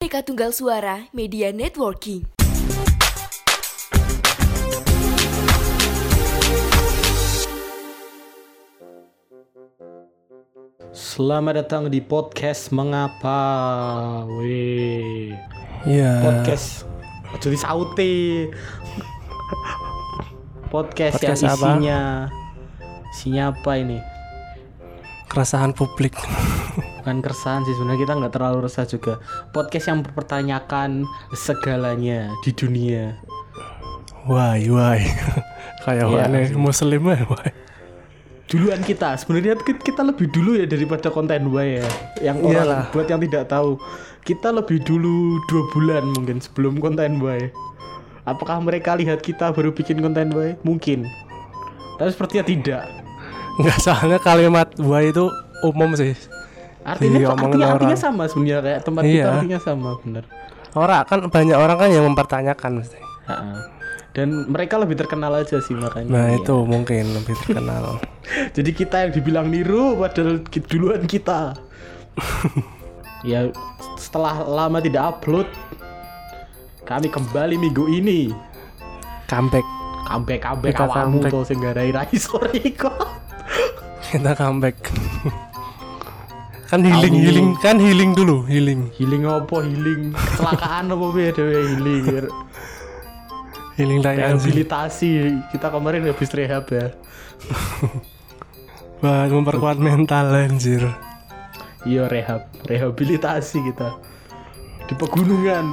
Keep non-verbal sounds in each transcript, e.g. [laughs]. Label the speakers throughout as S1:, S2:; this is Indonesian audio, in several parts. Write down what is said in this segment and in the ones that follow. S1: Merdeka Tunggal Suara Media Networking.
S2: Selamat datang di podcast Mengapa Weh
S3: Iya.
S2: Podcast Ojo disauti Podcast,
S3: Podcast
S2: yang
S3: apa?
S2: isinya Isinya apa ini?
S3: Keresahan publik.
S2: Bukan keresahan sih sebenarnya kita nggak terlalu resah juga Podcast yang mempertanyakan segalanya di dunia
S3: Why, why? [laughs] Kayak
S2: Iya, sih.
S3: aneh muslim ya, why?
S2: Duluan kita sebenarnya ki- kita lebih dulu ya daripada konten gue ya Yang orang
S3: Iyalah.
S2: buat yang tidak tahu Kita lebih dulu dua bulan mungkin sebelum konten gue Apakah mereka lihat kita baru bikin konten gue? Mungkin Tapi sepertinya tidak
S3: Enggak soalnya kalimat why itu umum sih.
S2: Artinya, artinya,
S3: Diomongin Iya, orang.
S2: artinya sama sebenarnya kayak tempat kita
S3: Iya.
S2: artinya sama bener
S3: Orang kan banyak orang kan yang mempertanyakan mesti.
S2: Ha-ha. Dan mereka lebih terkenal aja sih makanya
S3: Nah,
S2: Iya.
S3: itu mungkin lebih terkenal.
S2: Jadi kita yang dibilang niru padahal ki- duluan kita. ya setelah lama tidak upload kami kembali minggu ini.
S3: comeback.
S2: [laughs] Comeback comeback
S3: Kita
S2: awakmu
S3: comeback.
S2: to sing garai rai [laughs] sore iku.
S3: Kita comeback. [laughs] kan healing,
S2: Aku-
S3: healing, kan healing dulu, healing.
S2: Healing opo healing? Kecelakaan opo piye dhewe healing?
S3: Healing dari anjing.
S2: Rehabilitasi. Kita kemarin habis rehab ya.
S3: Buat memperkuat mental anjir.
S2: Iya rehab, rehabilitasi kita. Di pegunungan.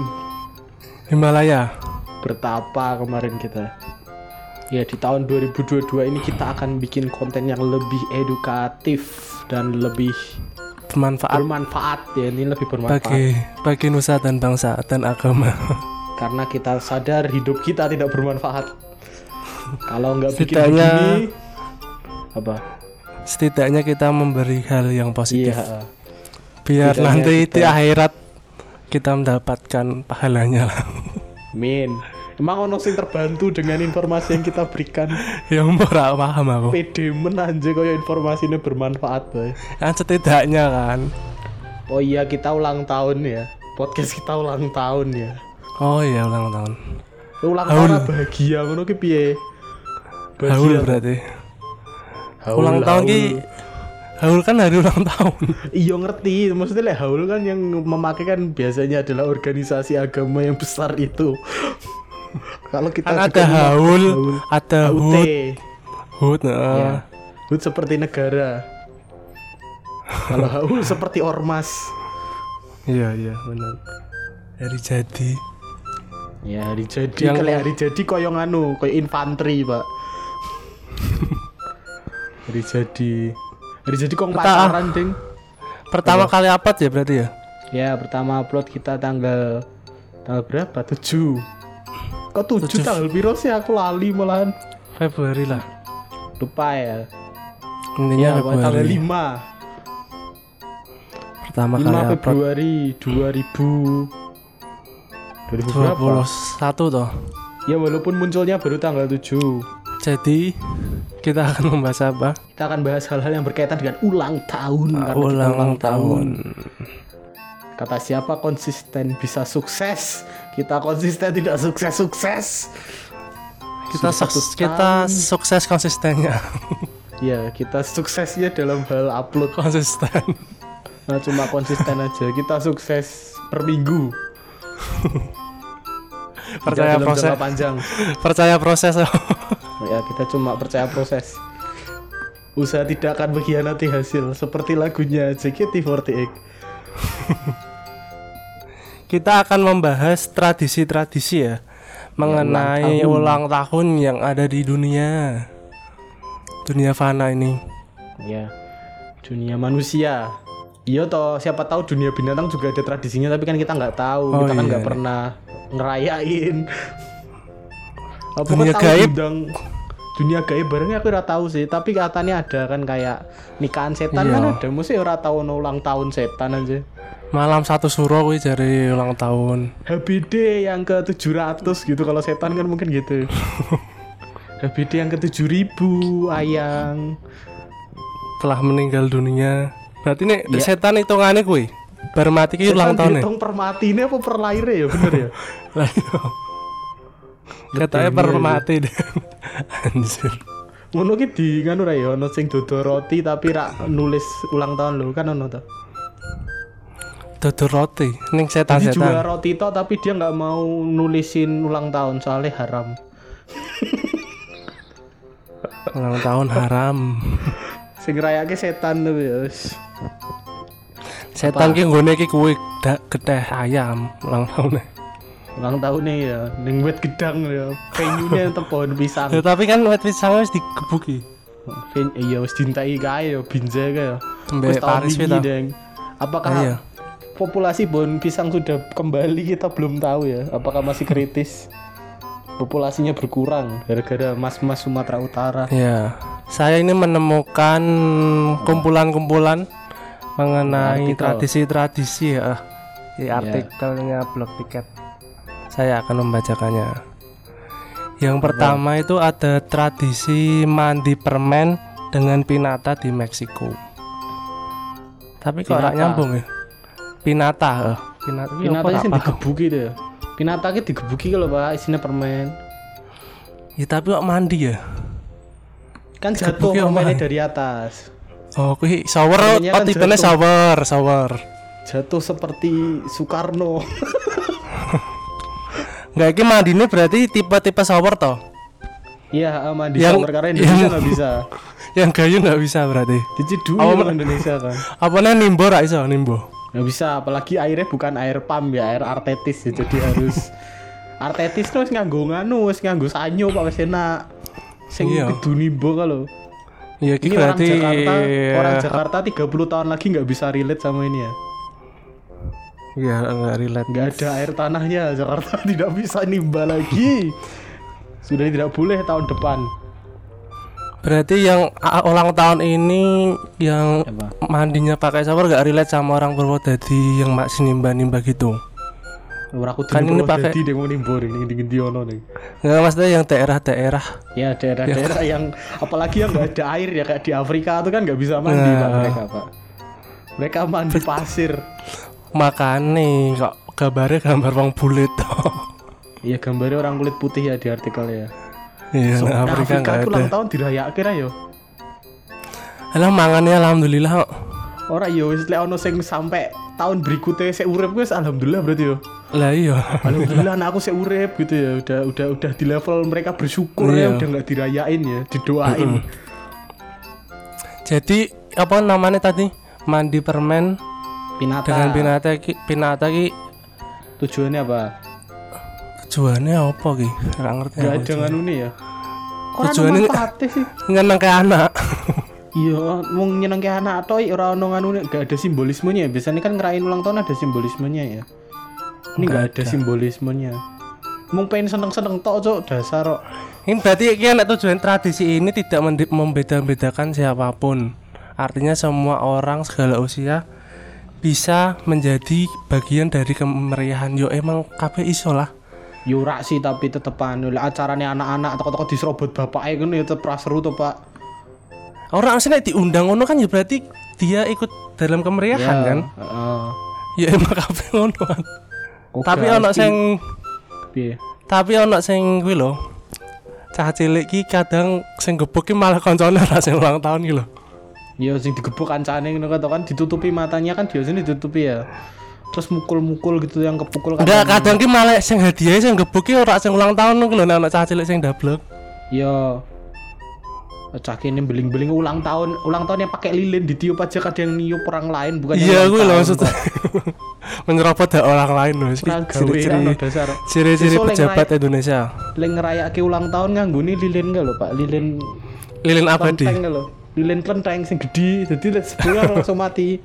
S3: Himalaya.
S2: bertapa kemarin kita ya di tahun 2022 ini kita akan bikin konten yang lebih edukatif dan lebih
S3: Bermanfaat
S2: bermanfaat ya ini lebih bermanfaat
S3: bagi bagi nusa dan bangsa dan agama. [laughs]
S2: karena kita sadar hidup kita tidak bermanfaat kalau nggak bikin
S3: Setidaknya-
S2: begini apa
S3: Setidaknya kita memberi hal yang positif.
S2: iya
S3: biar
S2: Setidaknya
S3: nanti
S2: kita-
S3: di akhirat kita mendapatkan pahalanya [laughs] lah
S2: min emang ono sing terbantu dengan informasi yang kita berikan
S3: yang ora paham aku
S2: pede menanje kaya ya informasinya bermanfaat boy
S3: kan setidaknya kan
S2: oh iya kita ulang tahun ya podcast kita ulang tahun ya
S3: oh iya ulang tahun
S2: ulang
S3: Haul.
S2: tahun lah bahagia ngono ki piye
S3: haul berarti
S2: ya. Haul,
S3: ulang tahun
S2: haul.
S3: ki haul kan hari ulang
S2: [laughs]
S3: tahun
S2: iya ngerti maksudnya lah haul kan yang memakai kan biasanya adalah organisasi agama yang besar itu [laughs] kalau kita juga
S3: kan ada
S2: memakai
S3: haul ada
S2: haul
S3: hut
S2: T.
S3: hut heeh.
S2: Ya. Hut seperti negara kalau
S3: [laughs]
S2: haul seperti ormas
S3: iya iya benar hari jadi
S2: ya hari jadi
S3: Yang-
S2: kali hari jadi koyo nganu koyo infanteri
S3: [laughs]
S2: pak hari jadi hari jadi kong
S3: Kita-
S2: pacaran ding
S3: pertama
S2: Iya.
S3: kali apa ya berarti ya
S2: Ya, pertama upload kita tanggal tanggal berapa? 7. Kok 7
S3: Tujuh.
S2: tanggal piro sih aku lali malahan.
S3: Februari lah
S2: Lupa ya.
S3: intinya
S2: Ya, tanggal
S3: Februari
S2: 5.
S3: pertama
S2: 5
S3: kali apa
S2: Februari 2000 2000 berapa?
S3: 21 toh
S2: Ya walaupun munculnya baru tanggal 7.
S3: jadi kita akan membahas apa
S2: Kita akan bahas hal-hal yang berkaitan dengan ulang tahun
S3: Ah,
S2: kita
S3: ulang tahun.
S2: Kata siapa konsisten bisa sukses? Kita konsisten tidak sukses-sukses.
S3: kita
S2: Sudah satu
S3: sukses kita
S2: tahun.
S3: sukses konsistennya [laughs]
S2: Ya, kita suksesnya dalam hal upload
S3: konsisten
S2: Nah, cuma konsisten aja. Kita sukses per minggu. Tidak
S3: Percaya
S2: dalam
S3: proses.
S2: jangka panjang.
S3: percaya proses [laughs]
S2: Ya, kita cuma percaya proses. Usaha tidak akan mengkhianati hasil seperti lagunya JKT48.
S3: kita akan membahas tradisi-tradisi ya mengenai ulang tahun. yang ada di dunia dunia fana ini
S2: Ya. Dunia manusia. Iya toh, siapa tahu dunia binatang juga ada tradisinya tapi kan kita nggak tahu.
S3: Oh,
S2: kita kan
S3: iya.
S2: nggak pernah ngerayain. Apa
S3: Dunia
S2: kau tahu
S3: gaib.
S2: gendang? dunia gaib barengnya aku ora tahu sih, tapi katanya ada kan kayak nikahan setan
S3: Iya.
S2: kan ada mesti ora tahu ono ulang tahun setan aja.
S3: malam satu suro kuwi dari ulang tahun
S2: HBD yang ke 700 gitu kalau setan kan mungkin gitu.
S3: [laughs]
S2: HBD yang ke 7000 ayang.
S3: telah meninggal dunia berarti nih
S2: Iya.
S3: setan hitungannya kuwi Permati ki ulang tahun ya.
S2: Dihitung permati ini apa perlaire ya bener
S3: [laughs]
S2: ya?
S3: Lah, iya.
S2: Betul, iya,
S3: Katanya permati deh. [laughs] Anjir.
S2: Ngono ki di nganu ra ya ono sing dodo roti tapi rak nulis ulang tahun lho kan ono to.
S3: Dodo roti ning
S2: Jadi jual
S3: setan-setan.
S2: roti to tapi dia nggak mau nulisin ulang tahun soalnya haram.
S3: Ulang tahun [laughs] haram.
S2: Sing rayake setan tuh ya. wis.
S3: Setan ki nggone ki kuwi da- gedhe ayam ulang tahun.
S2: Ulang tahunnya ya ning wit gedang ya.
S3: [laughs]
S2: Venyune tetep pohon pisang.
S3: Ya tapi kan wet pisang wis digebuki.
S2: Ven- Iya wis dintai kae ya binjai kae ya.
S3: Mbek
S2: Wis tahun
S3: Paris
S2: wingi,
S3: kita.
S2: Deng. Apakah
S3: Iya.
S2: populasi pohon pisang sudah kembali kita belum tahu ya. Apakah masih
S3: [laughs]
S2: kritis? Populasinya berkurang gara-gara mas-mas Sumatera Utara.
S3: Ya, saya ini menemukan kumpulan-kumpulan mengenai
S2: Artikel. Iya.
S3: tradisi-tradisi ya. Di artikelnya blog tiket. Saya akan membacakannya. Yang pertama itu ada tradisi mandi permen dengan pinata di Meksiko. Tapi kok
S2: Pinata.
S3: nggak nyambung ya? Pinata, eh. pinata, ini apa,
S2: Pinatanya sih
S3: apa?
S2: digebuki tuh ya. Pinata ki digebuki kalau Pak isinya permen.
S3: Ya tapi kok mandi ya?
S2: Kan jatuh
S3: Digebuki
S2: permennya
S3: omahe.
S2: dari atas.
S3: Oh, kuih shower,
S2: Permennya
S3: oh
S2: kan
S3: tipenya
S2: jatuh.
S3: shower, shower.
S2: Jatuh seperti Soekarno. [laughs]
S3: Nggak, ini mandinya berarti tipe-tipe shower toh?
S2: Iya, aman di
S3: Yang-
S2: shower karena Indonesia
S3: yang-
S2: nggak bisa.
S3: Yang gayu nggak bisa berarti.
S2: Dicidui
S3: Apa-
S2: orang Indonesia kan.
S3: Apanya nimbo ra iso nimbo.
S2: Nggak bisa, apalagi airnya bukan air pam ya, air artetis ya. Jadi
S3: [laughs]
S2: harus artetis terus nganggo nganu, wis nganggo sanyo Pak wis enak. Sing
S3: Iya.
S2: keduni bo kalau.
S3: Ya
S2: Ini
S3: ki berarti
S2: orang Jakarta, orang Jakarta 30 tahun lagi nggak bisa relate sama ini ya.
S3: Ya nggak relate.
S2: Nggak ada air tanahnya, Jakarta [laughs] tidak bisa nimba lagi. Sudah tidak boleh tahun depan.
S3: Berarti yang a- ulang tahun ini yang
S2: Apa?
S3: mandinya pakai shower nggak relate sama orang Purwodadi yang masih nimba-nimba gitu.
S2: Ora aku
S3: Kan ini pakai-
S2: dadi demo nimbo ning ngendi-ngendi ono ning.
S3: Nggak maksudnya yang daerah-daerah.
S2: Ya daerah-daerah yang apalagi yang nggak ada air ya kayak di Afrika itu kan nggak bisa mandi
S3: Nah.
S2: Pak, mereka Pak. Mereka mandi pasir.
S3: Makane kok gambarnya gambar wong bulit toh.
S2: Iya gambarnya orang kulit putih ya di artikel ya.
S3: Iya,
S2: So,
S3: nah,
S2: nah,
S3: Afrika nggak
S2: itu
S3: ada.
S2: ulang tahun dirayake ra yo.
S3: Alah mangannya alhamdulillah kok.
S2: Ora yo wis lek ono sing sampai tahun berikutnya saya urip wis alhamdulillah berarti yo.
S3: Lah iya. [laughs]
S2: Alhamdulillah anak aku saya urip gitu ya. Udah udah udah di level mereka bersyukur ya
S3: Iya.
S2: udah nggak dirayain ya, didoain.
S3: Jadi apa namanya tadi? Mandi permen
S2: Pinata.
S3: dengan pinata ki pinata ki
S2: Tujuannya apa?
S3: tujuannya apa ki nggak ngerti
S2: Gak
S3: aku.
S2: ada nganu nih ya. Kok ora
S3: Iya, Tujuannya-
S2: manfaatnya sih?
S3: nyeneng ke anak [laughs]
S2: Iya, mau nyenengke anak toy ora ono nganu gak ada simbolismenya. Biasanya kan ngerayain ulang tahun ada simbolismenya ya. Ini
S3: Nggak
S2: gak ada simbolismenya. Mau pengen seneng-seneng tok, Cok, dasar kok.
S3: ini berarti ki anak tujuan tradisi ini tidak mende- membeda-bedakan siapapun artinya semua orang segala usia bisa menjadi bagian dari kemeriahan yo emang kabeh iso lah
S2: Yo Ya ora sih tapi tetepan oleh acarane anak-anak toko-toko diserobot bapake ngono ya tetep ra seru to, Pak.
S3: orang asli nek diundang ngono kan ya berarti dia ikut dalam kemeriahan kan
S2: Iya, Heeh.
S3: ya emang [laughs] kabeh ngono kan
S2: Kok
S3: tapi
S2: gak
S3: ono
S2: mesti-
S3: sing
S2: piye?
S3: tapi ono sing kuwi lho cah cilik ki kadang sing gebuk ki malah koncone ra sing ulang tahun ki lho
S2: Ya sing digebuk kancane ngono kan, toh kan ditutupi matanya kan biasanya ditutupi ya. Terus mukul-mukul gitu yang kepukul kan.
S3: Enggak, kadang ki malah sing hadiah sing gebuk ki ora sing ulang tahun ki lho nek ono cah cilik sing ndablek.
S2: Yo. Cah Ya. ini beling-beling ulang tahun, ulang tahun yang pakai lilin ditiup aja kadang niup orang lain bukan yang
S3: Iya,
S2: ulang
S3: kuwi
S2: tahun,
S3: lho maksud.
S2: kok.
S3: [laughs] Menyerobot hak orang lain lho iki
S2: Orang gawean
S3: ciri-ciri
S2: loh, dasar.
S3: ciri-ciri
S2: Sesuk leng
S3: pejabat
S2: rayak-
S3: Indonesia.
S2: leng ngerayake ulang tahun nganggo ni lilin gak lho, Pak? Lilin
S3: Lilin abadi.
S2: klenteng gak lho. Lilin klenteng sing gede, jadi lek
S3: [laughs]
S2: sebelah langsung mati.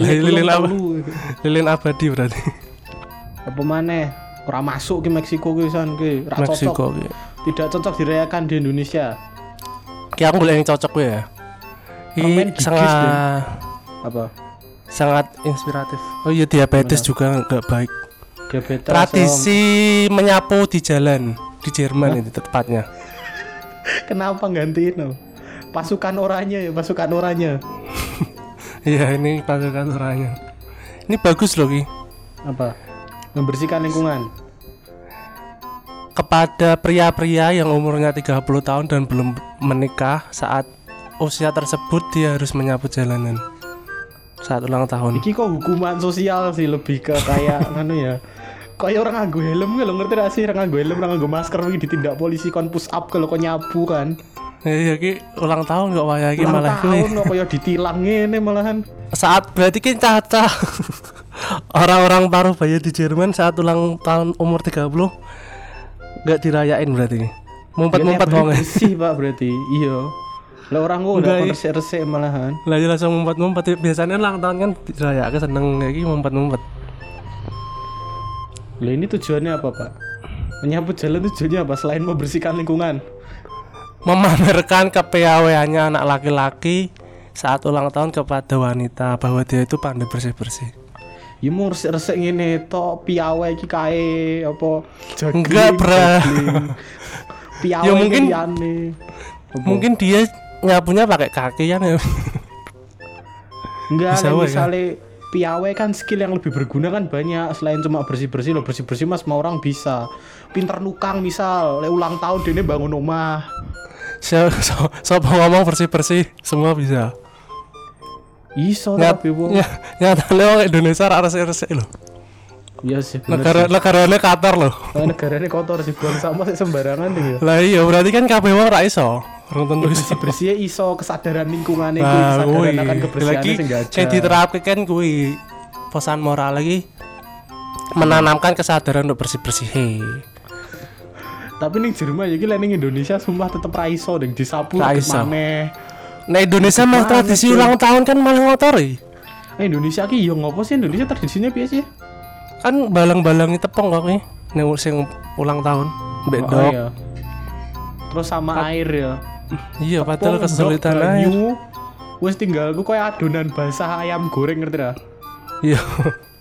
S3: Lilin
S2: Lilin
S3: apa?
S2: telu.
S3: Lilin abadi berarti.
S2: Apa maneh? Ora masuk ke Meksiko ke san ke,
S3: [laughs]
S2: ra
S3: Meksiko
S2: cocok.
S3: ki.
S2: Tidak cocok dirayakan di Indonesia.
S3: Ki aku golek yang cocok kuwi ya.
S2: Permen
S3: Iki
S2: gigis,
S3: sangat
S2: Apa?
S3: sangat inspiratif. Oh iya diabetes juga nggak baik.
S2: Diabetes. Om.
S3: Tradisi menyapu di jalan di Jerman itu tepatnya.
S2: Kenapa gantiin? Om? Pasukan oranye ya, pasukan oranye. kan
S3: Iya ini pasukan orangnya Ini bagus loh Ki.
S2: Apa? Membersihkan lingkungan.
S3: Kepada pria-pria yang umurnya 30 tahun dan belum menikah saat usia tersebut dia harus menyapu jalanan saat ulang tahun.
S2: Iki kok hukuman sosial sih lebih ke
S3: [laughs]
S2: kayak anu ya. Kayak orang nganggo helm nggak lo ngerti gak sih orang nganggo helm orang nganggo masker wih ditindak polisi kon push up kalau kau nyapu kan.
S3: Iya Ki, ulang tahun kok wayahe Ki
S2: Ulang
S3: malah Ki.
S2: tahun kok kayak ditilang ngene malahan.
S3: saat berarti kan caca [laughs] orang-orang paruh baya di Jerman saat ulang tahun umur 30 nggak dirayain berarti mumpet-mumpet
S2: Ya,
S3: wong
S2: lihat bersih pak berarti. Iya. Lah orang kok udah
S3: Enggak, iya.
S2: resik-resik malahan.
S3: lah ya langsung mumpet-mumpet biasanya ulang tahun kan dirayakan seneng kayak gini mumpet-mumpet
S2: Lah ini tujuannya apa pak? Menyapu jalan tujuannya apa selain membersihkan lingkungan?
S3: memamerkan kepiawaiannya anak laki-laki saat ulang tahun kepada wanita bahwa dia itu pandai bersih-bersih
S2: Ya mau resik-resik ngene tok piawai iki kae apa jagling,
S3: Enggak, bra. [laughs]
S2: jagling. Piawai
S3: Ya, mungkin-
S2: liyane. Apa?
S3: mungkin dia nyapunya pakai kaki kan ya [laughs]
S2: Enggak,
S3: Bisa
S2: lah,
S3: wae, ya.
S2: misalnya piawai kan skill yang lebih berguna kan banyak selain cuma bersih bersih lo bersih bersih mas mau orang bisa pinter nukang misal le ulang tahun dene bangun rumah
S3: so, so, so ngomong bersih-bersih semua bisa
S2: iso Oh,
S3: Nyat,
S2: tapi bu
S3: ny- nyatanya orang Indonesia harus resik loh
S2: ya sih bener
S3: negara
S2: sih.
S3: negaranya Qatar loh
S2: Nah, negaranya kotor sih buang sama sih sembarangan deh ya
S3: lah iya berarti kan kabeh wong ora iso orang tentu iso
S2: bersih bersih ya iso kesadaran lingkungannya itu
S3: nah
S2: kesadaran
S3: kuwi
S2: akan
S3: lagi
S2: kebersihannya sih nggak
S3: kayak diterapkan kan kuwi pesan moral lagi menanamkan kesadaran untuk bersih bersih
S2: tapi nih Jerman ya gila nih Indonesia sumpah tetep raiso deh disapu
S3: Ra
S2: tetep
S3: iso.
S2: maneh.
S3: nah Indonesia mah
S2: Gimana,
S3: tradisi
S2: cuy?
S3: ulang tahun kan malah ngotori
S2: Eh, Indonesia ki yo ngopo sih Indonesia tradisinya biasa sih
S3: kan balang-balangi tepung kok nih nek sing ulang tahun
S2: Oh,
S3: mbek Eh, dok
S2: iya. terus sama air ya
S3: iya padahal
S2: Tepung,
S3: kesulitan
S2: dok,
S3: aja
S2: banyu. Wes tinggalku kayak adonan basah ayam goreng ngerti ra?
S3: iya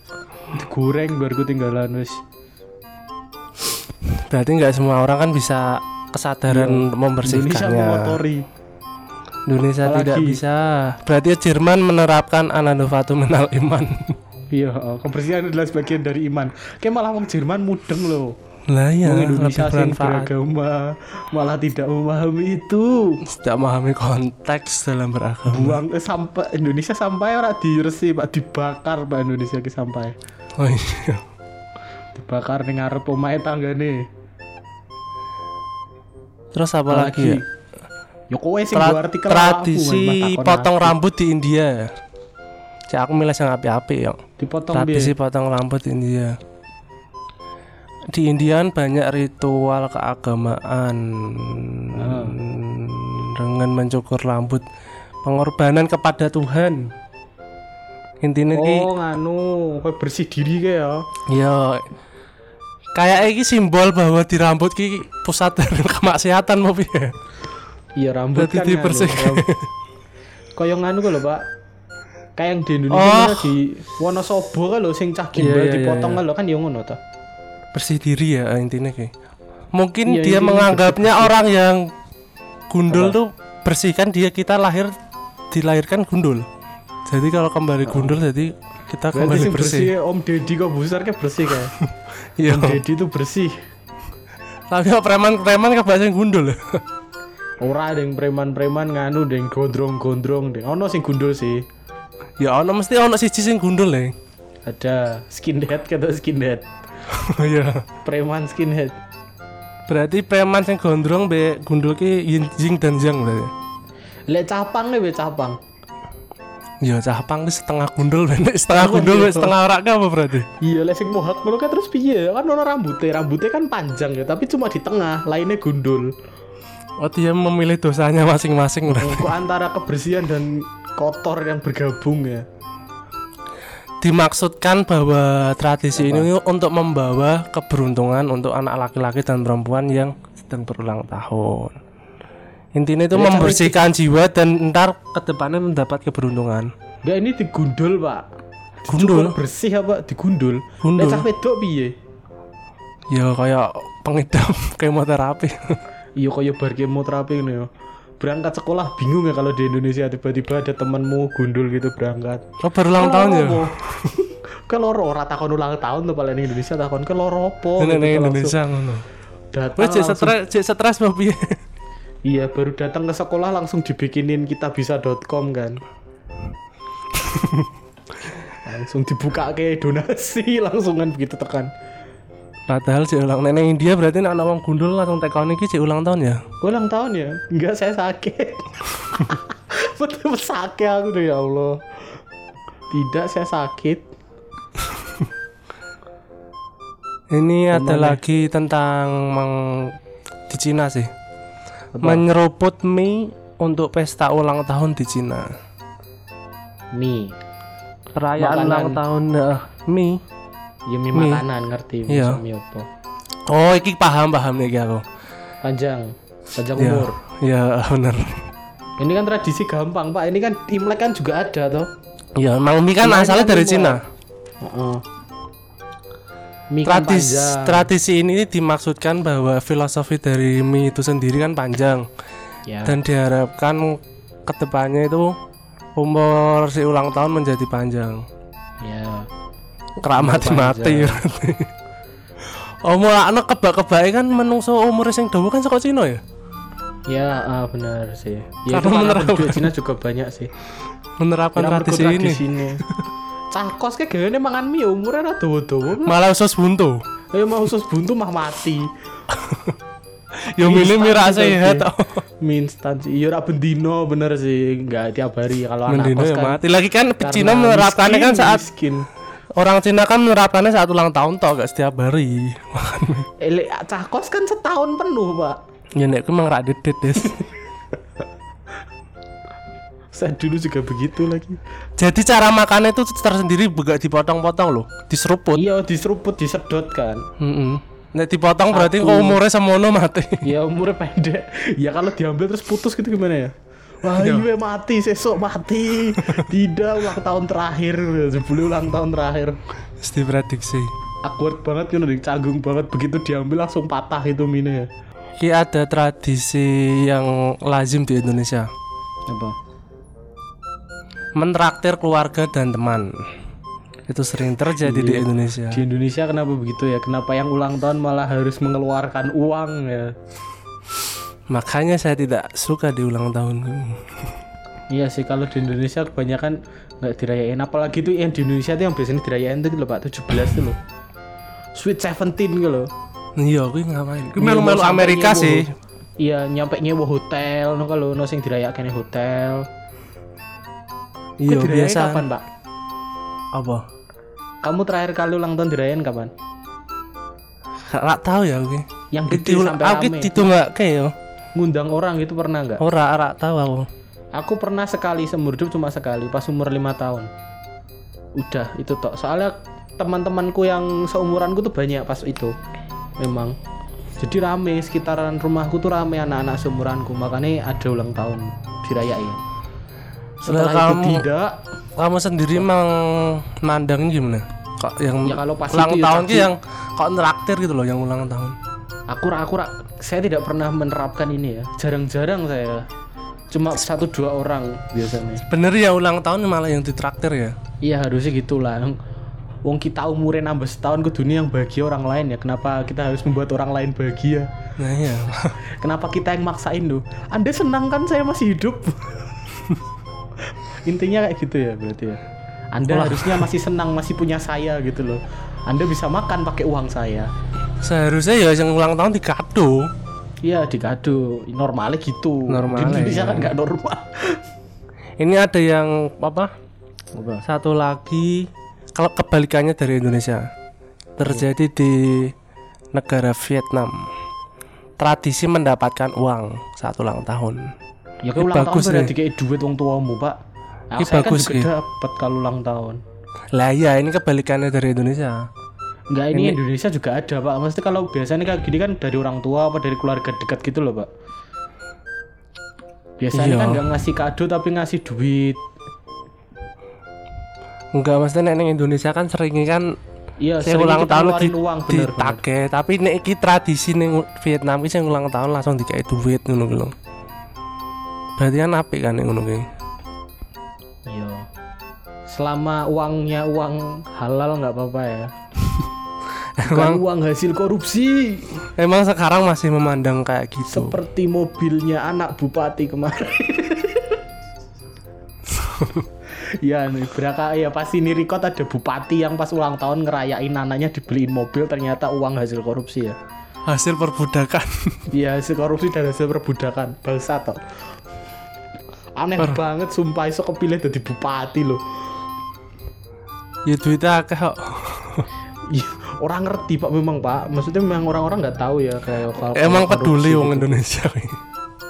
S3: [laughs]
S2: Digoreng baru ku tinggalan wis.
S3: berarti nggak semua orang kan bisa
S2: Iya.
S3: kesadaran
S2: Indonesia
S3: membersihkannya
S2: mengotori.
S3: Indonesia
S2: Apalagi?
S3: tidak bisa. Berarti Jerman menerapkan anadovatu menal iman.
S2: Iya, oh, kebersihan adalah sebagian dari iman. Kayak malah wong Jerman mudeng loh.
S3: Lah ya,
S2: Wong
S3: lebih
S2: Indonesia sing
S3: bermanfaat.
S2: beragama malah tidak memahami itu.
S3: Tidak memahami konteks dalam beragama.
S2: Buang eh, sampai Indonesia sampai ora diresi, Pak, dibakar Pak Indonesia ki sampai.
S3: Oh iya.
S2: Dibakar ning ngarep omahe tanggane.
S3: Terus apa lagi? ya?
S2: Yo kowe sing
S3: Tra-
S2: nggo artikel apa aku, Mas,
S3: tradisi
S2: takon
S3: potong
S2: aku.
S3: rambut di India. Cek aku milih yang api-api ya.
S2: dipotong piye?
S3: Tradisi potong rambut di India. Di India kan banyak ritual keagamaan
S2: Ah.
S3: dengan mencukur rambut, pengorbanan kepada Tuhan. Intinya ki,
S2: Oh, nganu, kowe bersih diri kayak ya.
S3: ya kayak iki simbol bahwa di rambut ki pusat [laughs] dari kemaksiatan mau piye.
S2: Iya, rambut
S3: Berarti
S2: kan. nganu,
S3: dibersihkan.
S2: ram- Kayak nganu kok lho, Pak. Kayak yang di Indonesia
S3: Oh.
S2: kan di Wonosobo kan lho sing cah
S3: Iya,
S2: gimbal
S3: iya, iya,
S2: dipotong
S3: iya.
S2: kan lho kan ya ngono ta.
S3: Bersih diri ya intinya ki. Mungkin
S2: Iya,
S3: dia
S2: intinya
S3: menganggapnya orang yang
S2: Apa?
S3: gundul tuh bersihkan dia kita lahir dilahirkan gundul. Jadi kalau kembali gundul jadi
S2: Oh.
S3: kita
S2: Berarti
S3: kembali
S2: sing bersih
S3: bersih.
S2: Om Deddy kok besar kayak bersih kayak.
S3: Iya.
S2: Om Deddy itu bersih.
S3: Tapi kok preman-preman kebiasaan gundul. ya?
S2: Ora ada yang preman-preman nganu, ada yang gondrong-gondrong, ada yang- ono sing gundul sih.
S3: [laughs] ya ono mesti ono siji sing
S2: [laughs]
S3: gundul ya.
S2: Ada skinhead kata skinhead.
S3: Iya.
S2: Preman skinhead.
S3: Berarti preman sing gondrong be gundul ki yin jing dan yang berarti.
S2: Lek capang le weh capang.
S3: Ya capang ki setengah gundul, bener setengah gundul, bener setengah orak ki apa berarti?
S2: Iya, lah sing mohak ngono kan terus piye? Kan ono rambutnya, rambutnya kan panjang ya, tapi cuma di tengah, lainnya gundul.
S3: Oh dia memilih dosanya masing-masing berarti.
S2: Kok antara kebersihan dan kotor yang bergabung ya.
S3: Dimaksudkan bahwa tradisi ini untuk membawa keberuntungan untuk anak laki-laki dan perempuan yang sedang berulang tahun. Intinya itu
S2: Jadi cara
S3: membersihkan jiwa dan ntar kedepannya mendapat keberuntungan.
S2: Enggak ini digundul, Pak.
S3: Gundul?
S2: Dicukur bersih apa digundul?
S3: Gundul.
S2: Lah cah wedok piye?
S3: Ya kayak pengidap [laughs] kemoterapi.
S2: Iya kaya bar kemoterapi ngono ya. Berangkat sekolah bingung ya kalau di Indonesia tiba-tiba ada temanmu gundul gitu berangkat.
S3: Oh berulang tahun ya?
S2: Apa? [laughs] ke loro ora takon ulang tahun tuh paling Indonesia takon ke loro opo
S3: Ini
S2: gitu,
S3: nih
S2: langsung
S3: Indonesia ngono. Ah,
S2: datang
S3: Wes cek
S2: langsung-
S3: stres cek stres mau piye?
S2: iya baru datang ke sekolah langsung dibikinin kitabisa.com
S3: [laughs]
S2: kan langsung dibuka ke donasi [laughs] langsungan begitu tekan
S3: Padahal cek ulang nenek India berarti nek ana wong gundul langsung tekon iki cek ulang tahun ya.
S2: ulang tahun ya enggak saya
S3: [laughs]
S2: sakit betul sakit aku tuh ya Allah tidak saya sakit
S3: Ini ada lagi tentang meng- di Cina sih. Menyeruput mie untuk pesta ulang tahun di Cina.
S2: mie Makanan.
S3: Perayaan ulang tahun eh, mie.
S2: ya mie
S3: Mie.
S2: makanan ngerti
S3: Iya.
S2: maksud mie apa
S3: Oh, iki paham paham nih iki aku.
S2: panjang panjang
S3: Ya,
S2: umur
S3: ya [laughs] bener.
S2: ini kan tradisi gampang pak ini kan imlek kan juga ada toh
S3: Ya, emang mie kan
S2: Mie
S3: asalnya
S2: kan
S3: dari
S2: mie
S3: Cina.
S2: Heeh. Mie kan
S3: Tradis,
S2: panjang.
S3: tradisi ini dimaksudkan bahwa filosofi dari mie itu sendiri kan panjang
S2: Ya.
S3: dan diharapkan kedepannya itu umur si ulang tahun menjadi panjang.
S2: ya.
S3: keramat mati [laughs] Omor anak kebak-kebake kan menungso umur sing dawa kan saka Cina ya.
S2: Ya, ah, benar sih. Ya
S3: Karena
S2: itu karena
S3: menerapkan-
S2: penduduk Cina juga banyak sih.
S3: Menerapkan
S2: Karena
S3: tradisi
S2: mereka
S3: ini.
S2: sini. Cangkos kayak gini mangan mie umurnya rada dawa-dawa.
S3: Malah usus buntu.
S2: Ayo mah usus buntu mah mati.
S3: Yo
S2: Mie
S3: milih
S2: instan
S3: mira
S2: juga
S3: sehat.
S2: gitu sih. [laughs]
S3: [laughs]
S2: Mie instan sih. Iya ora bendino bener sih. Enggak tiap hari kalau anak
S3: Mendino
S2: kos
S3: ya
S2: kan.
S3: mati. Lagi kan
S2: Karena
S3: Cina menerapkannya
S2: miskin,
S3: kan saat
S2: miskin.
S3: orang Cina kan menerapkannya saat ulang tahun toh gak setiap hari. [laughs]
S2: Eh, le- cangkos kan setahun penuh, Pak.
S3: ya nek ku mangrak dedet des.
S2: [laughs] Saya dulu juga begitu lagi.
S3: Jadi cara makannya itu tersendiri gak dipotong-potong loh, diseruput.
S2: Iya, diseruput, disedot kan.
S3: Heeh. Nek dipotong berarti
S2: Satu.
S3: umurnya semono mati. [laughs]
S2: ya umurnya pendek [laughs] ya kalau diambil terus putus gitu gimana ya wah iya mati sesok
S3: [laughs]
S2: mati tidak ulang tahun terakhir sebelum ulang tahun terakhir
S3: Terus diprediksi.
S2: awkward banget kan udah canggung banget begitu diambil langsung patah itu mine ya
S3: Ki ada tradisi yang lazim di Indonesia
S2: apa
S3: Mentraktir keluarga dan teman Itu sering terjadi di
S2: Iya.
S3: Indonesia
S2: di Indonesia kenapa begitu ya kenapa yang ulang tahun malah harus mengeluarkan uang ya
S3: Makanya saya tidak suka di ulang tahun
S2: Iya sih kalau di Indonesia kebanyakan nggak dirayain apalagi itu yang di Indonesia tuh yang biasanya dirayain tuh gitu loh Pak 17 tuh loh Sweet 17 gitu loh
S3: Iya, gue ngapain Gue
S2: Nyewa
S3: melu-melu
S2: sampai
S3: Amerika
S2: nyewa.
S3: sih
S2: Iya, nyampe nyewa hotel no kalau no sing dirayakane hotel.
S3: Iya,
S2: Kau dirayain
S3: biasa
S2: kapan, Pak?
S3: Apa?
S2: Kamu terakhir kali ulang tahun dirayain kapan?
S3: Gak tau ya gue
S2: Yang
S3: Gue
S2: gede
S3: diulang-
S2: sampai
S3: Aku
S2: rame.
S3: ditunggake yo
S2: Ngundang orang gitu pernah nggak?
S3: ya. Ora, ora tau aku
S2: Aku pernah sekali seumur hidup cuma sekali pas umur lima tahun. Udah itu tok. Soalnya teman-temanku yang seumuranku tuh banyak pas itu. Memang. Jadi rame sekitaran rumahku tuh rame anak-anak seumuranku. Makanya ada ulang tahun dirayain. Setelah
S3: Lah,
S2: itu
S3: kamu-
S2: tidak.
S3: Kamu sendiri memandangnya gimana? Kok yang
S2: Ya, kalau pas
S3: ulang
S2: itu ya
S3: tahun
S2: pasti.
S3: ki yang Kok ngeraktir gitu loh yang ulang tahun
S2: aku ra- aku ra- saya tidak pernah menerapkan ini ya jarang-jarang saya cuma satu dua orang biasanya
S3: Bener ya ulang tahun malah yang ditraktir ya
S2: iya harusnya gitulah Wong kita umurnya nambah setahun ke dunia yang bahagia orang lain ya Kenapa kita harus membuat orang lain bahagia
S3: Nah iya [laughs]
S2: Kenapa kita yang maksain loh Anda senang kan saya masih hidup [laughs] Intinya kayak gitu ya berarti ya Anda harusnya masih senang masih punya saya gitu loh Anda bisa makan pakai uang saya
S3: Seharusnya ya yang ulang tahun dikado
S2: Iya dikado normalnya gitu Di
S3: Normalnya,
S2: Indonesia
S3: ya.
S2: kan nggak normal
S3: Ini ada yang apa? Satu lagi kalau kebalikannya dari Indonesia terjadi
S2: Iya.
S3: di negara Vietnam. Tradisi mendapatkan uang saat ulang tahun.
S2: Ya kan ulang tahun
S3: bagus nih.
S2: berarti kayak duit wong tuamu, Pak. Nah,
S3: Ini
S2: saya
S3: bagus
S2: kan
S3: nih.
S2: juga dapat kalau ulang tahun.
S3: Lah ya ini kebalikannya dari Indonesia.
S2: Enggak, ini, Indonesia juga ada, Pak. Maksudnya kalau biasanya kayak gini kan dari orang tua apa dari keluarga dekat gitu loh, Pak. Biasanya
S3: Iya.
S2: kan nggak ngasih kado tapi ngasih duit.
S3: Enggak maksudnya nek ning Indonesia kan seringnya kan
S2: Iya,
S3: sing
S2: sering
S3: ulang
S2: kita
S3: tahun
S2: ngeluarin
S3: di-
S2: uang bener, bener.
S3: ditagih, tapi nek iki tradisi ning Vietnam iki sing ulang tahun langsung dikai duit ngono kuwi lho. Berarti kan apik kan ning ngono kuwi.
S2: Iya. selama uangnya uang halal nggak apa-apa
S3: [laughs]
S2: ya Bukan
S3: Emang-
S2: uang hasil korupsi
S3: Emang sekarang masih memandang kayak gitu.
S2: seperti mobilnya anak bupati
S3: [laughs]
S2: kemarin ya nih beraka ya pasti ini record ada bupati yang pas ulang tahun ngerayain anaknya dibeliin mobil ternyata uang hasil korupsi ya
S3: Hasil perbudakan.
S2: Iya, hasil korupsi dan hasil perbudakan. Bangsa toh. Aneh banget sumpah iso kepilih jadi bupati loh.
S3: [laughs] ya duitnya akeh kok.
S2: Iya, orang ngerti Pak memang Pak. Maksudnya memang orang-orang nggak tahu ya kayak kalau
S3: Emang
S2: kalau
S3: peduli
S2: korupsi
S3: wong
S2: gitu.
S3: Indonesia ini.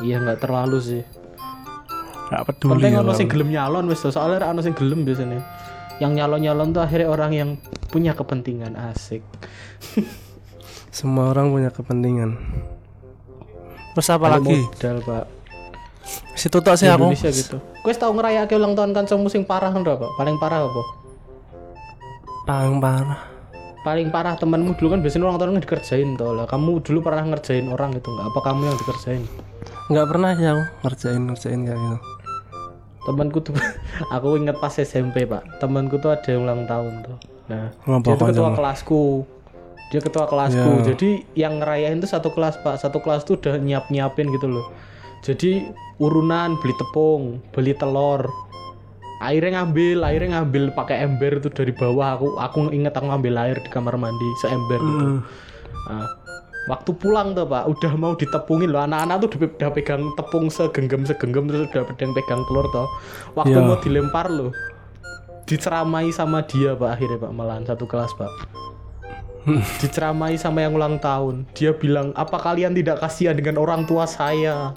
S2: Iya, nggak terlalu sih.
S3: [laughs] Gak peduli. ya,
S2: Penting ono
S3: orang.
S2: sing gelem nyalon wis toh. soalnya ono sing gelem biasanya. Yang nyalon-nyalon tuh akhirnya orang yang punya kepentingan asik.
S3: Semua orang punya kepentingan. Terus apa lagi?
S2: Modal, Pak.
S3: Situ tok sih aku.
S2: Indonesia gitu. Kowe tau ngerayake ulang tahun kancamu sing parah ndra, Pak? Paling parah apa?
S3: Paling parah.
S2: paling parah temanmu dulu kan biasanya orang orang dikerjain toh lah kamu dulu pernah ngerjain orang gitu nggak apa kamu yang dikerjain
S3: Enggak pernah sih aku ngerjain ngerjain kayak gitu.
S2: temanku tuh [laughs] aku inget pas SMP pak temanku tuh ada yang ulang tahun tuh nah dia
S3: Wah,
S2: tuh
S3: pokoknya
S2: ketua
S3: mah.
S2: kelasku dia ketua kelasku
S3: Ya.
S2: jadi yang ngerayain tuh satu kelas pak satu kelas tuh udah nyiap nyiapin gitu loh jadi urunan beli tepung beli telur airnya ngambil airnya ngambil pakai ember tuh dari bawah aku aku inget aku ngambil air di kamar mandi seember gitu
S3: Mm.
S2: Nah, waktu pulang tuh pak, udah mau ditepungin loh anak-anak tuh udah, udah pegang tepung segenggam segenggam terus udah pedang pegang telur toh. Waktu
S3: Iya.
S2: mau dilempar loh, diceramai sama dia pak akhirnya pak malahan satu kelas pak. diceramai sama yang ulang tahun. Dia bilang apa kalian tidak kasihan dengan orang tua saya?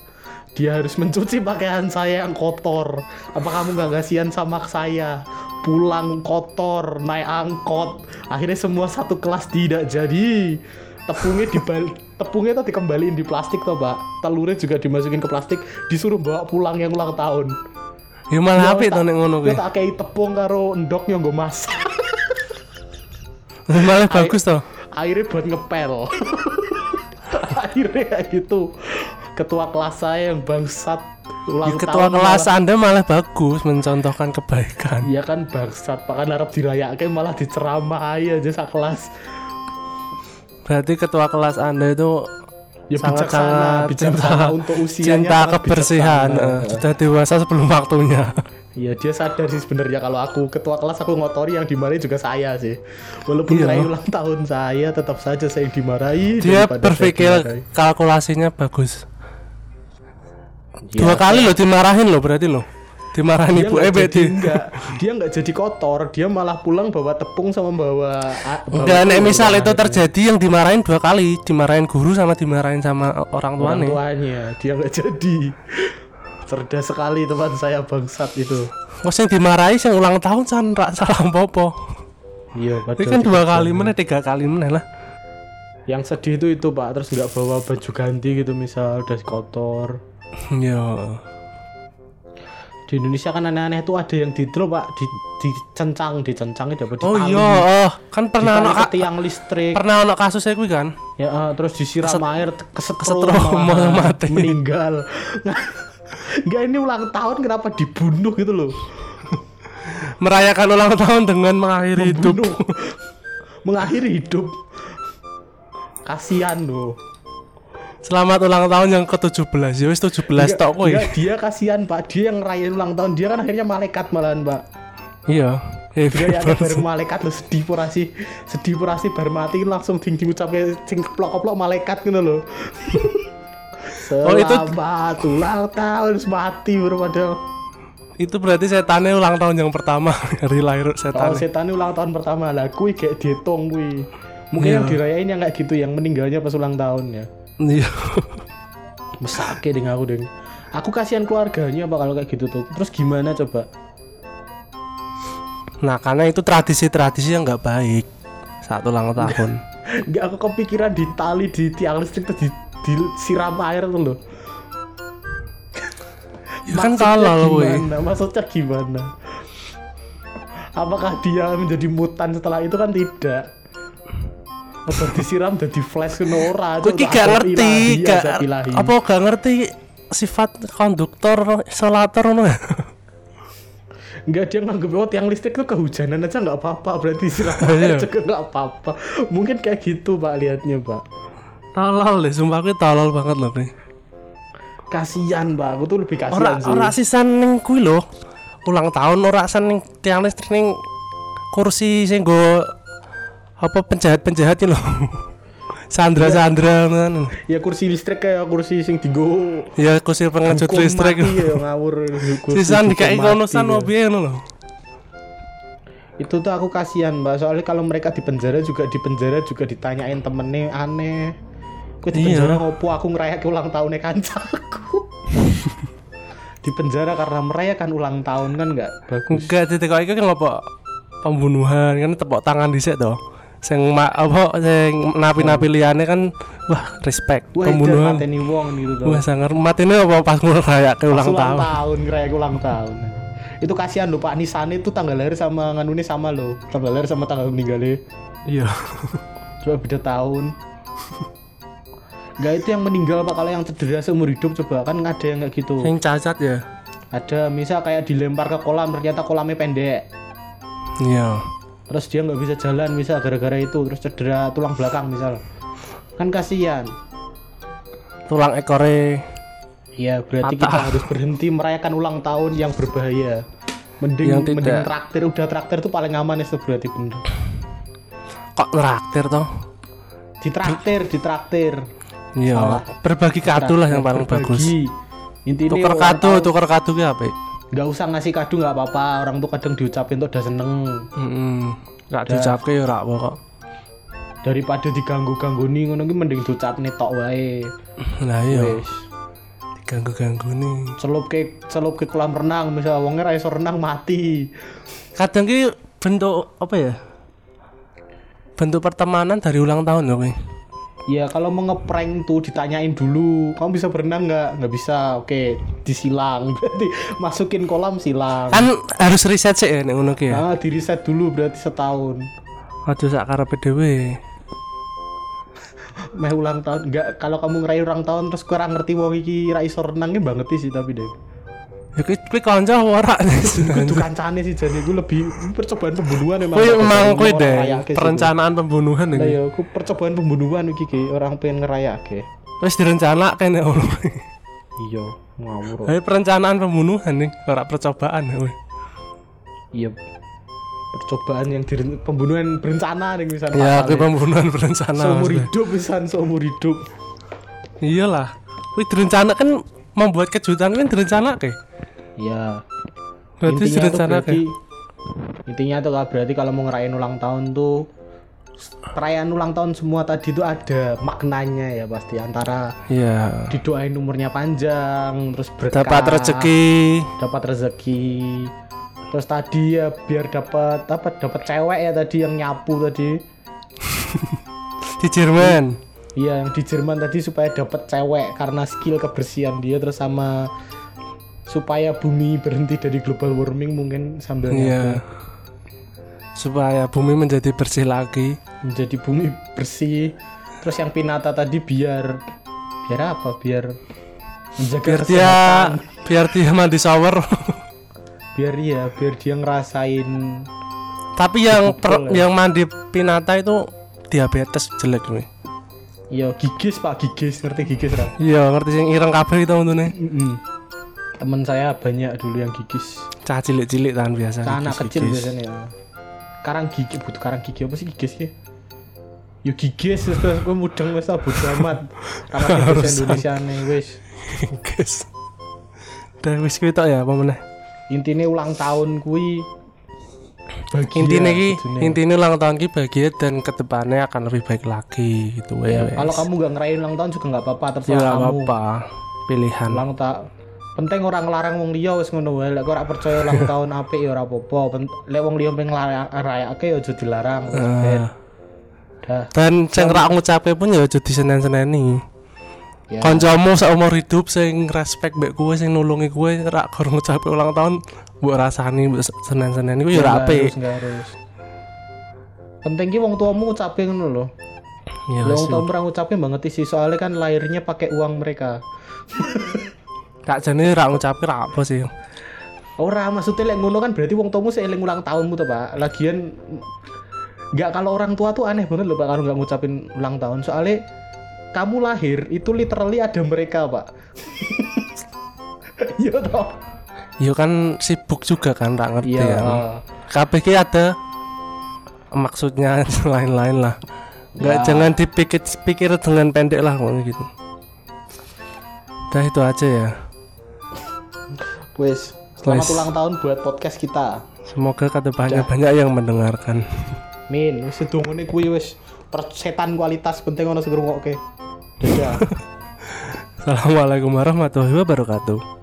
S2: Dia harus mencuci pakaian saya yang kotor. Apa kamu nggak kasihan sama saya? Pulang kotor, naik angkot. Akhirnya semua satu kelas tidak jadi. Tepungnya dibal tepungnya tuh dikembaliin di plastik toh, Pak. Telurnya juga dimasukin ke plastik, disuruh bawa pulang yang ulang tahun.
S3: Ya malah apik to nek ngono
S2: kuwi.
S3: kuwi.
S2: Tak kei tepung karo endok yang gue masak.
S3: [laughs] Malah bagus to.
S2: akhirnya buat ngepel [laughs] akhirnya kayak gitu ketua kelas saya yang bangsat
S3: Ya,
S2: ulang
S3: ketua
S2: tahun
S3: kelas
S2: malah-
S3: Anda malah bagus mencontohkan kebaikan.
S2: Iya kan bangsat bahkan harap dirayakan malah diceramai aja sak kelas
S3: Berarti ketua kelas Anda itu
S2: ya
S3: sangat-sangat
S2: bijaksana bijaksana untuk usianya
S3: cinta
S2: sangat
S3: kebersihan
S2: bijaksana.
S3: eh, sudah dewasa sebelum
S2: [laughs]
S3: waktunya
S2: Iya dia sadar sih sebenarnya kalau aku ketua kelas aku ngotori yang dimarahi juga saya sih walaupun
S3: Iya.
S2: saya ulang tahun saya tetap saja saya yang dimarahi
S3: dia
S2: daripada saya
S3: berpikir
S2: dimarahi.
S3: kalkulasinya bagus
S2: Iya.
S3: dua kali loh dimarahin loh berarti loh dimarahin
S2: dia
S3: ibu
S2: nggak
S3: eh
S2: jadi
S3: berarti
S2: nggak dia nggak jadi kotor dia malah pulang bawa tepung sama bawa a- bawa
S3: Oh, dan
S2: telur
S3: misal itu
S2: akhirnya.
S3: terjadi yang dimarahin dua kali dimarahin guru sama dimarahin sama orang
S2: orang
S3: tuanya
S2: tuanya dia nggak jadi cerdas sekali teman saya bangsat itu
S3: terus yang dimarahi yang ulang tahun san ra salah popo
S2: iya
S3: itu kan dua kali mana tiga kali mana lah
S2: yang sedih itu itu pak terus nggak bawa baju ganti gitu misal udah kotor
S3: yo
S2: di Indonesia kan aneh-aneh tuh ada yang didro pak di dicencang dicencangnya dapat
S3: oh
S2: ditali.
S3: iya oh, kan pernah
S2: Ditali
S3: ono
S2: ke
S3: ka-
S2: tiang listrik
S3: pernah ono kasusnya gue kan
S2: ya eh, terus disiram air kesetrum,
S3: kesetrum, malah mati.
S2: meninggal [laughs] nggak ini ulang tahun kenapa dibunuh gitu loh
S3: merayakan ulang tahun dengan mengakhiri hidup
S2: Bunuh. mengakhiri hidup kasihan loh
S3: Selamat ulang tahun yang ke-17. Ya wis 17 tok kowe.
S2: dia, dia kasihan pak dia yang ngerayain ulang tahun dia kan akhirnya malaikat malahan pak
S3: Iya. Happy
S2: dia yang
S3: birthday.
S2: bareng malaikat lo sedih purasi sedih purasi bar mati kan langsung ding diucapin sing keplok keplok malaikat gitu loh
S3: Oh, itu-
S2: Selamat ulang tahun terus mati baru padahal
S3: Itu berarti setannya ulang tahun yang pertama [laughs] dari lahir
S2: Kalau
S3: setan.
S2: setan ini ulang tahun pertama lah, kui kayak dihitung kui. Mungkin
S3: Iya.
S2: yang dirayain yang kayak gitu, yang meninggalnya pas ulang tahun ya.
S3: Iya.
S2: Mesake ding aku ding. Aku kasihan keluarganya apa kalau kayak gitu tuh. Terus gimana coba? [laughs]
S3: Nah, karena itu tradisi-tradisi yang nggak baik saat ulang tahun.
S2: Nggak aku kepikiran ditali di tiang listrik terus di, disiram air tuh loh.
S3: ya
S2: Maksudnya
S3: kan salah loh kowe.
S2: gimana? Maksudnya gimana? Apakah dia menjadi mutan setelah itu kan tidak? Atau disiram jadi flash ke Nora
S3: Kowe iki gak ngerti, gak apa
S2: apa
S3: gak ngerti sifat konduktor isolator ngono.
S2: Enggak dia nganggep oh tiang listrik tuh kehujanan aja nggak apa-apa berarti
S3: [laughs] Iya.
S2: istirahat juga nggak apa-apa. Mungkin kayak gitu pak liatnya pak.
S3: tolol deh sumpah aku tolol banget loh nih
S2: Kasian pak, aku tuh lebih
S3: ora
S2: kasian sih.
S3: ora sisan ning kuwi lho ulang tahun ora sisan ning tiang listrik ning kursi sing go apa penjahat-penjahat iki lho [laughs] Sandra-sandra ngono.
S2: Ya kursi listrik kayak kursi sing digo.
S3: ya kursi pengecut
S2: hukum
S3: listrik
S2: mati ya ngawur
S3: [laughs]
S2: kursi hukum
S3: sisan dikai
S2: mati,
S3: kono san
S2: ya.
S3: mobilnya ngono lho
S2: itu tuh aku kasihan mbak soalnya kalau mereka di penjara juga di penjara juga ditanyain temennya aneh aku di
S3: Iya.
S2: penjara ngopo aku ngerayakan ulang tahunnya
S3: [laughs]
S2: kancaku di penjara karena merayakan ulang tahun kan nggak bagus
S3: Enggak titik kok iki ngopo kan pembunuhan kan tepuk tangan dhisik to. Sing ma- apa sing napi-napi liyane kan wah respect
S2: wah pembunuhan
S3: pembunuhan.
S2: mateni wong gitu tuh
S3: Wah sangar matine apa pas ngrayake ulang tahun.
S2: tahun ngerayakan ulang tahun itu kasihan loh Pak Nisane itu tanggal lahir sama nganune sama loh tanggal lahir sama tanggal meninggalnya
S3: Iya.
S2: Coba beda tahun. [laughs] Gak itu yang meninggal pak kalau yang cedera seumur hidup coba kan ada yang kayak gitu.
S3: Sing cacat ya.
S2: Ada misal kayak dilempar ke kolam ternyata kolamnya pendek.
S3: Iya.
S2: Terus dia nggak bisa jalan misal gara-gara itu terus cedera tulang belakang misal. Kan kasihan.
S3: Tulang ekore
S2: Ya berarti
S3: Patah.
S2: kita harus berhenti merayakan ulang tahun yang berbahaya. Mending
S3: Yang tidak.
S2: mending traktir udah traktir tuh paling aman itu berarti bener.
S3: kok neraktir to.
S2: Ditraktir, ditraktir.
S3: Iya.
S2: Salah.
S3: Berbagi kado lah yang paling bagus.
S2: Berbagi. Intinya
S3: Tuker
S2: ulang
S3: kado,
S2: tahun-
S3: tuker kado ki apik.
S2: nggak usah ngasih kado nggak apa-apa orang tuh kadang diucapin tuh udah seneng
S3: Heeh. Gak diucapke ya ora apa kok.
S2: daripada diganggu ganggu nih ngono ki mending diucap nih tok wae
S3: Lah iya,
S2: wes
S3: diganggu-ganggu nih.
S2: celup ke celup ke kolam renang misalnya wongnya ra iso renang mati
S3: kadang ki bentuk apa ya bentuk pertemanan dari ulang tahun loh ki.
S2: ya kalau mau ngeprank tuh ditanyain dulu kamu bisa berenang nggak nggak bisa oke disilang [laughs] berarti masukin kolam silang
S3: kan harus riset sih ya nek ngono ki ya
S2: nah di reset dulu berarti setahun [laughs]
S3: aduh sak karepe dhewe
S2: meh ulang tahun nggak kalau kamu ngerayain ulang tahun terus kurang ngerti wong iki ra iso renangnya banget sih tapi deh
S3: ya ki kuwi kanca apa ora
S2: Kudu kancane sih jadi gue lebih percobaan pembunuhan emang.
S3: [laughs] kuwi emang kuwi
S2: Orang
S3: deh
S2: ngerayake sih,
S3: perencanaan pembunuhan
S2: gue. Lah
S3: ini
S2: ya, aku percobaan pembunuhan iki ki orang pengen ngerayake.
S3: terus direncana kan ya Allah
S2: Iya, ngawur.
S3: Tapi perencanaan pembunuhan nih ora percobaan ya, weh.
S2: Iya. Percobaan yang diren- pembunuhan berencana nih misalnya.
S3: ya kuwi pembunuhan berencana
S2: seumur
S3: maksudnya.
S2: hidup misalnya seumur hidup.
S3: iyalah kuwi direncana kan membuat kejutan kan direncana ke
S2: Iya.
S3: berarti
S2: intinya tuh
S3: direncana
S2: berarti intinya tuh Kak, berarti kalau mau ngerayain ulang tahun tuh perayaan ulang tahun semua tadi tuh ada maknanya ya pasti antara
S3: iya
S2: didoain umurnya panjang terus berkah
S3: dapat rezeki
S2: dapat rezeki terus tadi ya biar dapat apa dapat cewek ya tadi yang nyapu tadi
S3: di Jerman
S2: iya yang di Jerman tadi supaya dapat cewek karena skill kebersihan dia terus sama supaya bumi berhenti dari global warming mungkin sambil nyapu
S3: Iya. Supaya bumi menjadi bersih lagi.
S2: menjadi bumi bersih terus yang pinata tadi biar biar apa biar menjaga
S3: Biar dia
S2: kesehatan.
S3: biar dia mandi [laughs] shower.
S2: biar ya biar dia ngerasain
S3: Tapi yang per-
S2: Betul,
S3: yang mandi pinata itu diabetes jelek gue.
S2: Iya, gigis pak, gigis ngerti gigis ra?
S3: Iya, ngerti sing ireng kabeh itu untune.
S2: Temen saya banyak dulu yang gigis.
S3: Cah cilik-cilik tahan biasa.
S2: Nah, anak kecil
S3: gigis-gigis. [laughs]
S2: biasanya. ya. Karang gigi, butuh karang gigi apa sih gigis ya? Yo gigis terus gue mudeng wis abu amat. [laughs] Ramai
S3: Harusan.
S2: bahasa Indonesia nih wis.
S3: Gigis. Dan wis kuwi tok ya apa meneh.
S2: Intine ulang tahun kuwi bahagia,
S3: Iya, Intine iki,
S2: kudune.
S3: intine ulang tahun ki bahagia dan kedepannya akan lebih baik lagi gitu
S2: Ya,
S3: ya.
S2: kalau kamu gak ngerayain ulang tahun juga nggak apa-apa
S3: ya
S2: terserah
S3: nggak
S2: kamu.
S3: apa-apa pilihan.
S2: ulang tak penting orang larang wong liya wis ngono wae lek kok ora percaya [laughs] ulang tahun apik ya ora apa-apa Pen- lek wong liya pengen ngelayak- ngerayakake ya aja dilarang wis
S3: Ah.
S2: ben dah
S3: Dan sing rak ngucape pun ya aja disenen-seneni.
S2: ya
S3: Kancamu seumur hidup sing respect mbek kowe sing nulungi kowe rak gor ngucapi ulang tahun mbok rasani mbok senen-senen iku ya
S2: Nggak harus,
S3: ora apik.
S2: nggak harus penting ki wong tuamu ngucapin ngono lho
S3: Ya
S2: Lek
S3: wis.
S2: wong tuamu ora ngucapin banget sih soalnya kan lahirnya pakai uang mereka
S3: Kak jane rak ngucapi rak apa sih.
S2: Ora maksudnya lek ngono kan berarti wong tuamu seeling ulang tahunmu tuh pak. Lagian nggak kalau orang tua tuh aneh banget loh pak kalau nggak ngucapin ulang tahun soalnya kamu lahir itu literally ada mereka pak. [laughs] Iya toh.
S3: Yo kan sibuk juga kan nggak ngerti
S2: Iya.
S3: ya. KPK ada maksudnya [laughs] lain-lain lah. Nggak
S2: Ya.
S3: jangan dipikir-pikir dengan pendek lah ngono gitu. Udah itu aja ya.
S2: Wes. Selamat
S3: Wes.
S2: ulang tahun buat podcast kita.
S3: Semoga kata banyak-banyak yang mendengarkan.
S2: Min, wis sedungune kuwi wis persetan kualitas penting ono sing ngrungokke. Dadah.
S3: Assalamualaikum warahmatullahi wabarakatuh.